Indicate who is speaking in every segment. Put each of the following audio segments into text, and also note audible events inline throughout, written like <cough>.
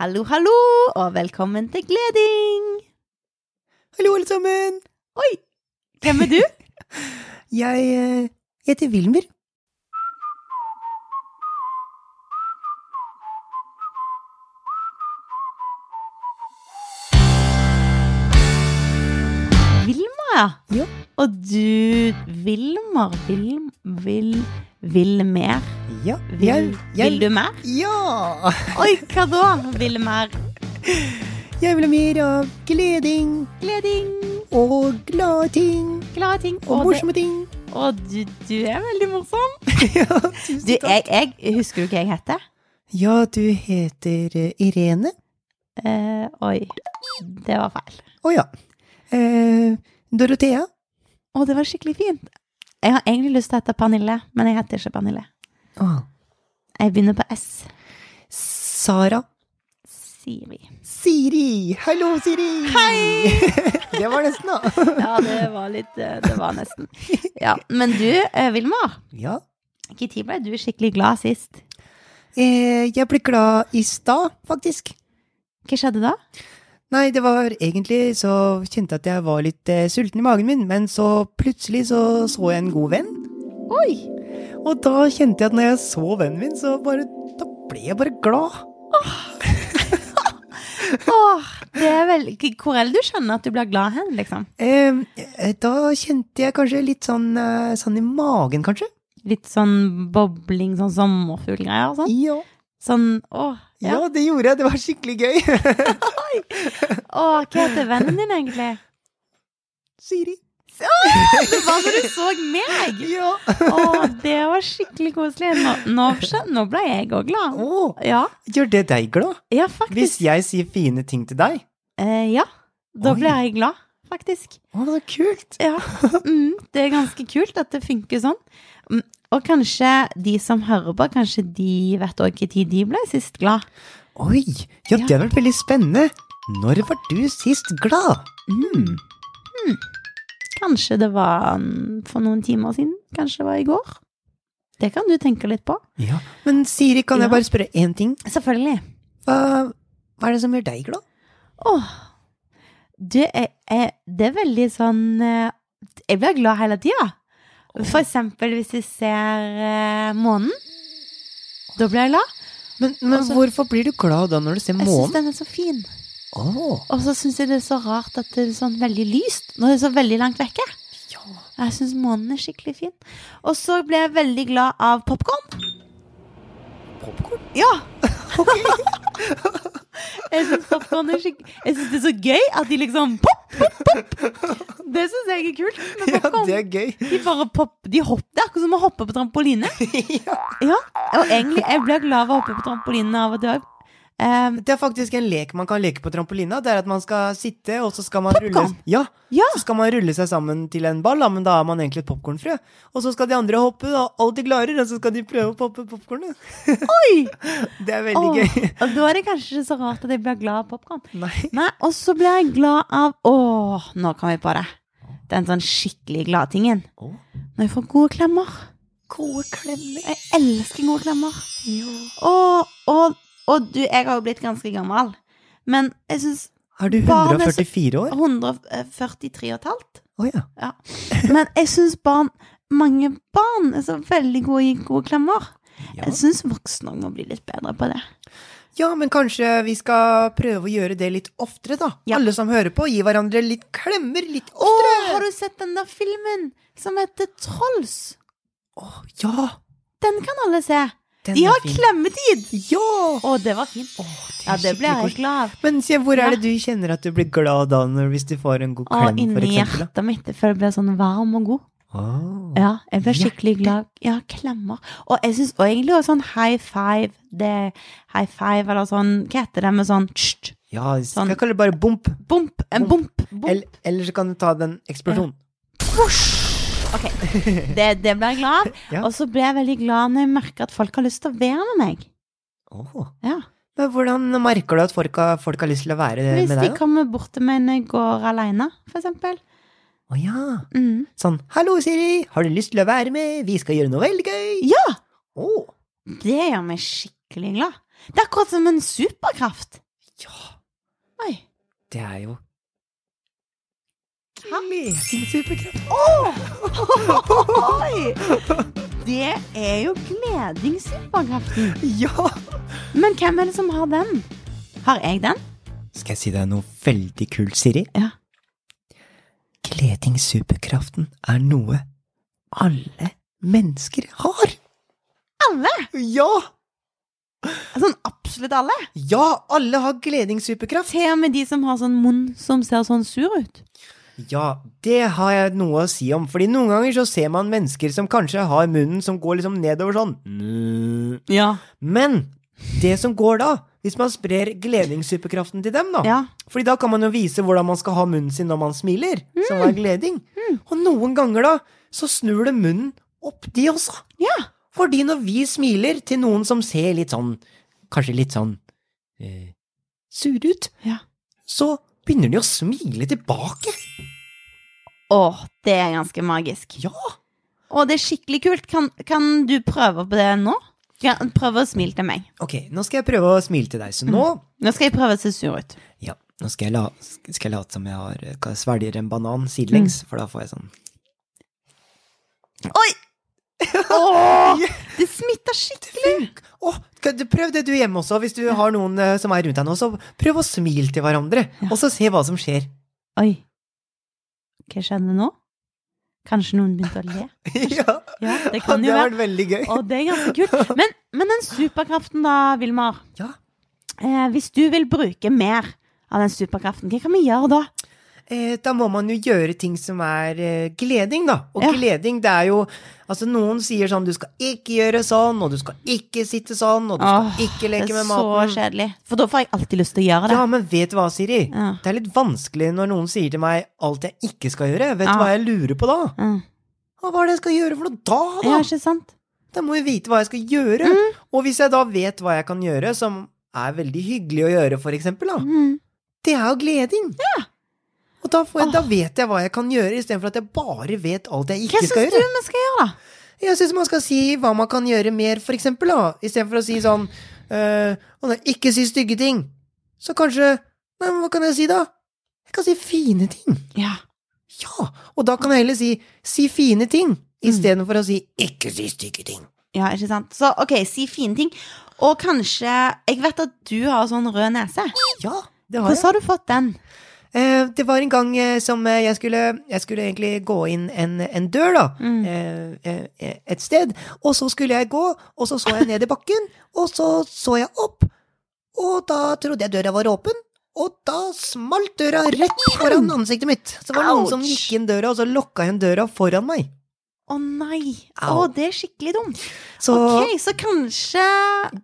Speaker 1: Hallo, hallo, og velkommen til Gleding!
Speaker 2: Hallo, alle sammen!
Speaker 1: Oi! Hvem <laughs> er du?
Speaker 2: Jeg eh, heter Wilmer.
Speaker 1: Vilma, ja.
Speaker 2: Ja.
Speaker 1: Og du Vilmar Vil... Vil... Vil mer?
Speaker 2: Ja,
Speaker 1: Vil, vil du mer?
Speaker 2: Ja!
Speaker 1: Oi, hva da? Vil mer
Speaker 2: Jeg vil ha mer av gleding
Speaker 1: gleding,
Speaker 2: og glade ting
Speaker 1: glade ting
Speaker 2: og
Speaker 1: det-
Speaker 2: morsomme ting. <laughs>
Speaker 1: Og du, du er veldig morsom.
Speaker 2: ja, tusen
Speaker 1: Du, jeg, jeg Husker du hva jeg heter?
Speaker 2: Ja, du heter eh, Irene.
Speaker 1: Eh, oi. Det var feil.
Speaker 2: Å ja. Eh, Dorothea.
Speaker 1: Å, det var skikkelig fint. Jeg har egentlig lyst til å hete Pernille, men jeg heter ikke Pernille.
Speaker 2: Å,
Speaker 1: Jeg begynner på S,
Speaker 2: Sara.
Speaker 1: sier vi.
Speaker 2: Siri. Hallo, Siri. Hei! <laughs> det var nesten, da.
Speaker 1: Ja, det var litt eh, Det var nesten. Ja, Men du, eh, Vilmar.
Speaker 2: ja.
Speaker 1: Når ble du skikkelig glad sist?
Speaker 2: Eh, jeg ble glad i stad, faktisk.
Speaker 1: Hva skjedde da?
Speaker 2: Nei, det var egentlig så kjente jeg at jeg var litt eh, sulten i magen min, men så plutselig så så jeg en god venn.
Speaker 1: Oi!
Speaker 2: Og da kjente jeg at når jeg så vennen min, så bare Da ble jeg bare glad.
Speaker 1: Åh, det er vel Hvor er det du skjønner at du blir glad hen, liksom?
Speaker 2: Eh, eh, da kjente jeg kanskje litt sånn, eh, sånn i magen, kanskje.
Speaker 1: Litt sånn bobling, sånn sommerfuglgreier og sånn?
Speaker 2: Ja.
Speaker 1: Sånn, åh.
Speaker 2: ja,
Speaker 1: Ja.
Speaker 2: det gjorde jeg. Det var skikkelig gøy. <laughs>
Speaker 1: Åh, hva heter vennen din egentlig?
Speaker 2: Siri.
Speaker 1: Det var da du så meg!
Speaker 2: Ja.
Speaker 1: Åh, det var skikkelig koselig. Nå, nå, skjøn- nå ble jeg òg glad.
Speaker 2: Å,
Speaker 1: Ja,
Speaker 2: gjør det deg glad?
Speaker 1: ja
Speaker 2: Hvis
Speaker 1: faktisk.
Speaker 2: jeg sier fine ting til deg?
Speaker 1: Eh, ja, da
Speaker 2: Oi.
Speaker 1: ble jeg glad, faktisk.
Speaker 2: Å, så kult.
Speaker 1: Ja, mm, det er ganske kult at det funker sånn. Mm, Og kanskje de som hører på, kanskje de vet òg når de ble sist glad.
Speaker 2: Oi, ja,
Speaker 1: Ja.
Speaker 2: det har vært veldig spennende. Når var du sist glad? Mm.
Speaker 1: Kanskje det var mm, for noen timer siden. Kanskje det var i går. Det kan du tenke litt på.
Speaker 2: Ja. Men Siri, kan
Speaker 1: Ja.
Speaker 2: jeg bare spørre én ting?
Speaker 1: Selvfølgelig.
Speaker 2: Hva, hva er det som gjør deg glad?
Speaker 1: Åh, det er, er, det er veldig sånn eh, Jeg blir glad hele tida. For eksempel hvis jeg ser eh, månen. Da blir jeg glad.
Speaker 2: Men, men
Speaker 1: Altså-
Speaker 2: hvorfor blir du glad da når du ser
Speaker 1: Jeg syns
Speaker 2: månen?
Speaker 1: den er så fin.
Speaker 2: Åh,
Speaker 1: Og så syns jeg det er så rart at det er sånn veldig lyst når det er så veldig langt vekke.
Speaker 2: ja.
Speaker 1: Jeg syns månen er skikkelig fin. Og så ble jeg veldig glad av popkorn.
Speaker 2: Popkorn?
Speaker 1: Ja! <laughs> jeg syns popkorn er skikkelig Jeg syns det er så gøy at de liksom pop, pop, pop. Det syns jeg er kult med
Speaker 2: Ja,
Speaker 1: popkorn.
Speaker 2: det er gøy.
Speaker 1: De bare pop, de hopper, det er akkurat som å hoppe på
Speaker 2: <laughs>
Speaker 1: trampoline. ja. Og egentlig, jeg blir glad av å hoppe på trampoline av og til òg. Ehm,
Speaker 2: Det er faktisk en lek man kan leke på trampolina. Det er at man skal sitte, og så skal man rulle
Speaker 1: Popcorn?
Speaker 2: ja,
Speaker 1: ja.
Speaker 2: så skal man rulle seg sammen til en ball, da, men da er man egentlig et popkornfrø. Og så skal de andre hoppe, da, alt de klarer, og så skal de prøve å poppe popkornet.
Speaker 1: Oi!
Speaker 2: Det er veldig
Speaker 1: Åh,
Speaker 2: gøy. <laughs>
Speaker 1: Og da er det kanskje ikke så rart at jeg blir glad av popkorn.
Speaker 2: Nei.
Speaker 1: Nei, og så blir jeg glad av Åh, nå kom jeg på det. Den sånn skikkelig gladtingen.
Speaker 2: Åh,
Speaker 1: Når jeg får gode klemmer.
Speaker 2: gode klemmer.
Speaker 1: Jeg elsker gode klemmer.
Speaker 2: Ja.
Speaker 1: Åh, og, og du, jeg har jo blitt ganske gammel. Men jeg syns
Speaker 2: Er du
Speaker 1: Barn er så-
Speaker 2: 144 år?
Speaker 1: 143 og et halvt
Speaker 2: Å ja.
Speaker 1: Men jeg syns barn Mange barn er så veldig gode i gode klemmer.
Speaker 2: ja.
Speaker 1: Jeg syns voksne også må bli litt bedre på det.
Speaker 2: Ja, men kanskje vi skal prøve å gjøre det litt oftere, da.
Speaker 1: Ja.
Speaker 2: Alle som hører på, gi hverandre litt klemmer litt
Speaker 1: Å,
Speaker 2: oftere.
Speaker 1: har du sett den der filmen som heter Trolls?
Speaker 2: Åh, ja!
Speaker 1: Den kan alle se.
Speaker 2: Den
Speaker 1: De
Speaker 2: er
Speaker 1: har
Speaker 2: fin.
Speaker 1: klemmetid!
Speaker 2: Ja!
Speaker 1: Å, det var fint.
Speaker 2: det er
Speaker 1: Ja, det ble
Speaker 2: skikkelig
Speaker 1: jeg
Speaker 2: koselig.
Speaker 1: glad av.
Speaker 2: Men se, hvor
Speaker 1: Ja.
Speaker 2: er det du kjenner at du blir glad da, når, hvis du får en
Speaker 1: Å,
Speaker 2: god klem, for
Speaker 1: inni
Speaker 2: eksempel? Da?
Speaker 1: hjertet mitt. Jeg føler jeg blir sånn varm og god.
Speaker 2: Åh.
Speaker 1: Ja, jeg blir skikkelig glad. Ja, klemmer. Og jeg syns egentlig også sånn high five det, High five eller sånn Hva heter det med sånn tssst,
Speaker 2: Ja, skal
Speaker 1: Sånn.
Speaker 2: jeg kalle det bare bump?
Speaker 1: Bump. En bump. bump.
Speaker 2: Eller, eller så kan du ta den eksplosjonen.
Speaker 1: Ok, det, det ble jeg glad av.
Speaker 2: <laughs> Ja.
Speaker 1: Og så ble jeg veldig glad når jeg merker at folk har lyst til å være med meg.
Speaker 2: Åh.
Speaker 1: Ja.
Speaker 2: Men hvordan merker du at folk har, folk har lyst til å være
Speaker 1: Hvis
Speaker 2: Eh, med
Speaker 1: de
Speaker 2: deg? da?
Speaker 1: kommer bort til meg når jeg går alene, for eksempel.
Speaker 2: Å ja.
Speaker 1: Mm.
Speaker 2: Sånn, hallo Siri, har du lyst til å være med? Vi skal gjøre noe veldig gøy.
Speaker 1: Ja!
Speaker 2: Åh.
Speaker 1: Det gjør meg skikkelig glad. Det er akkurat som en superkraft.
Speaker 2: Ja,
Speaker 1: Oi.
Speaker 2: det er jo Lesing superkraft.
Speaker 1: Oi! Det er jo gleding, superkraften.
Speaker 2: Ja!
Speaker 1: Men hvem er det som har den? Har jeg den?
Speaker 2: Skal jeg si deg noe veldig kult, Siri?
Speaker 1: Ja.
Speaker 2: Gleding superkraften er noe alle mennesker har.
Speaker 1: Alle!
Speaker 2: Ja!
Speaker 1: Sånn absolutt alle.
Speaker 2: Ja, alle har gleding superkraft.
Speaker 1: Til og med de som har sånn munn som ser sånn sur ut.
Speaker 2: Ja, det har jeg noe å si om, fordi noen ganger så ser man mennesker som kanskje har munnen som går liksom nedover sånn.
Speaker 1: Ja.
Speaker 2: Men det som går da, hvis man sprer gleding superkraften til dem da,
Speaker 1: Ja.
Speaker 2: Fordi da kan man jo vise hvordan man skal ha munnen sin når man smiler,
Speaker 1: Mm.
Speaker 2: som er gleding. Og noen ganger da, så snur det munnen opp de også.
Speaker 1: Ja.
Speaker 2: Fordi når vi smiler til noen som ser litt sånn, kanskje litt sånn, eh, sur ut,
Speaker 1: Ja.
Speaker 2: så begynner de å smile tilbake.
Speaker 1: Åh, det er ganske magisk.
Speaker 2: Ja!
Speaker 1: Og det er skikkelig kult. Kan, kan du prøve på det nå? Ja, prøv å smile til meg.
Speaker 2: Ok, nå skal jeg prøve å smile til deg,
Speaker 1: Mm.
Speaker 2: så nå,
Speaker 1: Nå skal jeg prøve å se sur ut.
Speaker 2: ja, nå skal jeg, la, skal jeg late som jeg har, eh, svelger en banan sidelengs,
Speaker 1: Mm.
Speaker 2: for da får jeg sånn,
Speaker 1: Oi! <laughs> Åh, det smitter skikkelig.
Speaker 2: Åh, skal du- prøv det du hjemme også, hvis du har noen eh, som er rundt deg nå, så prøv å smile til hverandre, og så se hva som skjer.
Speaker 1: Oi. Hva skjedde nå? Kanskje noen begynte å le?
Speaker 2: ja,
Speaker 1: <laughs> Ja, det kan jo være.
Speaker 2: vært veldig gøy.
Speaker 1: Å, det er ganske kult. Men, men den superkraften da, Vilmar.
Speaker 2: Ja.
Speaker 1: Eh, hvis du vil bruke mer av den superkraften, hva kan vi gjøre da?
Speaker 2: Eh, da må man jo gjøre ting som er eh, gleding, da. Og
Speaker 1: Ja.
Speaker 2: gleding, det er jo Altså, noen sier sånn 'du skal ikke gjøre sånn', og 'du skal ikke sitte sånn', og 'du skal
Speaker 1: Åh,
Speaker 2: ikke leke
Speaker 1: det er
Speaker 2: med
Speaker 1: så
Speaker 2: maten'.
Speaker 1: kjedelig. For da får jeg alltid lyst til å gjøre det.
Speaker 2: Ja, men vet du hva, Siri?
Speaker 1: Ja.
Speaker 2: Det er litt vanskelig når noen sier til meg alt jeg ikke skal gjøre. Vet
Speaker 1: Ja.
Speaker 2: du hva jeg lurer på da?
Speaker 1: Mm.
Speaker 2: Ja, Hva er det jeg skal gjøre for noe da, da?
Speaker 1: Ja, ikke sant?
Speaker 2: Da må jeg vite hva jeg skal gjøre. Og hvis jeg da vet hva jeg kan gjøre, som er veldig hyggelig å gjøre, for eksempel, da,
Speaker 1: Mm.
Speaker 2: det er jo gleding. Og da, får jeg, da vet jeg hva jeg kan gjøre, istedenfor at jeg bare vet alt jeg
Speaker 1: Hva
Speaker 2: ikke skal
Speaker 1: syns du
Speaker 2: gjøre.
Speaker 1: vi skal gjøre, da?
Speaker 2: Jeg syns man skal si hva man kan gjøre mer, for eksempel, da. Istedenfor å si sånn eh, «Å nei, Ikke si stygge ting. Så kanskje Nei, men hva kan jeg si, da? Jeg kan si fine ting.
Speaker 1: Ja.
Speaker 2: Ja. Og da kan jeg heller si si fine ting, istedenfor å si ikke si stygge ting.
Speaker 1: ja, ikke sant? Så ok, si fine ting. Og kanskje Jeg vet at du har sånn rød nese.
Speaker 2: Ja, det har jeg.
Speaker 1: Hvordan har du fått den?
Speaker 2: Eh, det var en gang eh, som eh, jeg skulle, jeg skulle egentlig gå inn en, en dør, da.
Speaker 1: Mm.
Speaker 2: Eh, eh, et sted. Og så skulle jeg gå, og så så jeg ned i bakken, og så så jeg opp. Og da trodde jeg døra var åpen, og da smalt døra rett foran ansiktet mitt. Så det var noen som
Speaker 1: Ouch.
Speaker 2: gikk inn døra, og så lokka igjen døra foran meg.
Speaker 1: Å nei! Å,
Speaker 2: Au.
Speaker 1: det er skikkelig dumt.
Speaker 2: Så
Speaker 1: Ok, så kanskje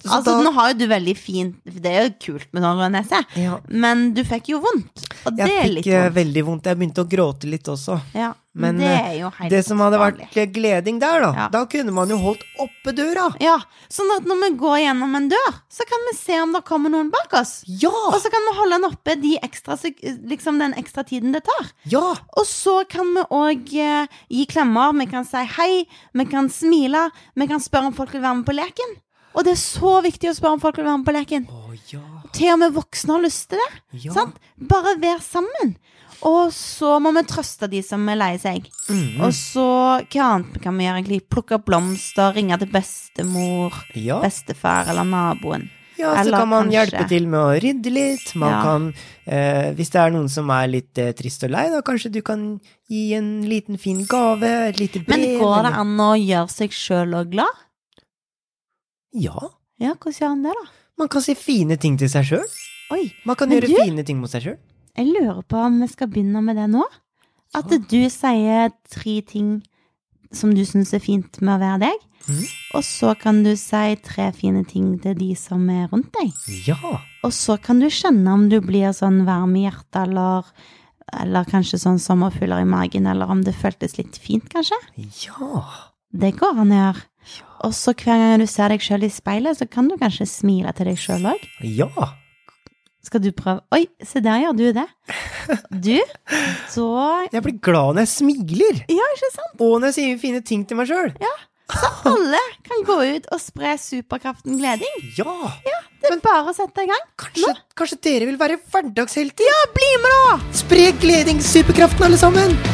Speaker 2: Så
Speaker 1: Altså,
Speaker 2: da-
Speaker 1: nå har jo du veldig fint Det er jo kult med sånn rød nese,
Speaker 2: ja,
Speaker 1: men du fikk jo vondt. Og det er
Speaker 2: jeg
Speaker 1: litt
Speaker 2: fikk eh,
Speaker 1: vondt.
Speaker 2: veldig vondt. Jeg begynte å gråte litt også.
Speaker 1: Ja,
Speaker 2: men,
Speaker 1: det
Speaker 2: eh,
Speaker 1: er jo helt
Speaker 2: Det som hadde
Speaker 1: vanlig.
Speaker 2: vært gleding der, da,
Speaker 1: Ja.
Speaker 2: da kunne man jo holdt oppe døra.
Speaker 1: Ja, sånn at når vi går gjennom en dør, så kan vi se om det kommer noen bak oss. Og
Speaker 2: Ja!
Speaker 1: så kan vi holde den oppe de ekstra, sek- liksom den ekstra tiden det tar.
Speaker 2: Ja!
Speaker 1: Og så kan vi òg eh, gi klemmer. Vi kan si hei, vi kan smile, vi kan spørre om folk vil være med på leken. Og det er så viktig å spørre om folk vil være med på leken.
Speaker 2: Å ja.
Speaker 1: Til og med voksne har lyst til det.
Speaker 2: Ja.
Speaker 1: Sant? Bare vær sammen. Og så må vi trøste de som er lei seg.
Speaker 2: Mhm.
Speaker 1: Og så, hva annet kan vi gjøre egentlig? Plukke opp blomster, ringe til bestemor,
Speaker 2: Ja.
Speaker 1: bestefar eller naboen.
Speaker 2: Ja, så
Speaker 1: Eller
Speaker 2: kan man
Speaker 1: kanskje-
Speaker 2: hjelpe til med å rydde litt. Man
Speaker 1: Ja.
Speaker 2: kan, eh, hvis det er noen som er litt eh, trist og lei, da kanskje du kan gi en liten fin gave, et lite brev.
Speaker 1: Men går det
Speaker 2: eller-
Speaker 1: an å gjøre seg sjøl òg glad?
Speaker 2: Ja,
Speaker 1: Ja, hvordan gjør en det, da?
Speaker 2: man kan si fine ting til seg sjøl.
Speaker 1: Oi,
Speaker 2: Man kan
Speaker 1: Men
Speaker 2: gjøre
Speaker 1: du-
Speaker 2: fine ting mot seg sjøl.
Speaker 1: jeg lurer på om vi skal begynne med det nå? At du sier tre ting som du syns er fint med å være deg,
Speaker 2: Mhm.
Speaker 1: og så kan du si tre fine ting til de som er rundt deg.
Speaker 2: Ja.
Speaker 1: Og så kan du kjenne om du blir sånn varm i hjertet, eller, eller kanskje sånn sommerfugler i magen, eller om det føltes litt fint, kanskje.
Speaker 2: Ja.
Speaker 1: Det går an å gjøre. Og så hver gang du ser deg sjøl i speilet, så kan du kanskje smile til deg sjøl òg.
Speaker 2: Ja.
Speaker 1: Skal du prøve Oi, se der gjør du det. Du, da
Speaker 2: Jeg blir glad når jeg smiler,
Speaker 1: Ja, ikke sant?
Speaker 2: og når jeg sier fine ting til meg sjøl.
Speaker 1: Alle kan gå ut og spre superkraften gleding.
Speaker 2: Ja.
Speaker 1: Det er bare å sette i gang.
Speaker 2: Kanskje, kanskje dere vil være hverdagshelter?
Speaker 1: Bli med, da!
Speaker 2: Spre gledings superkraften, alle sammen!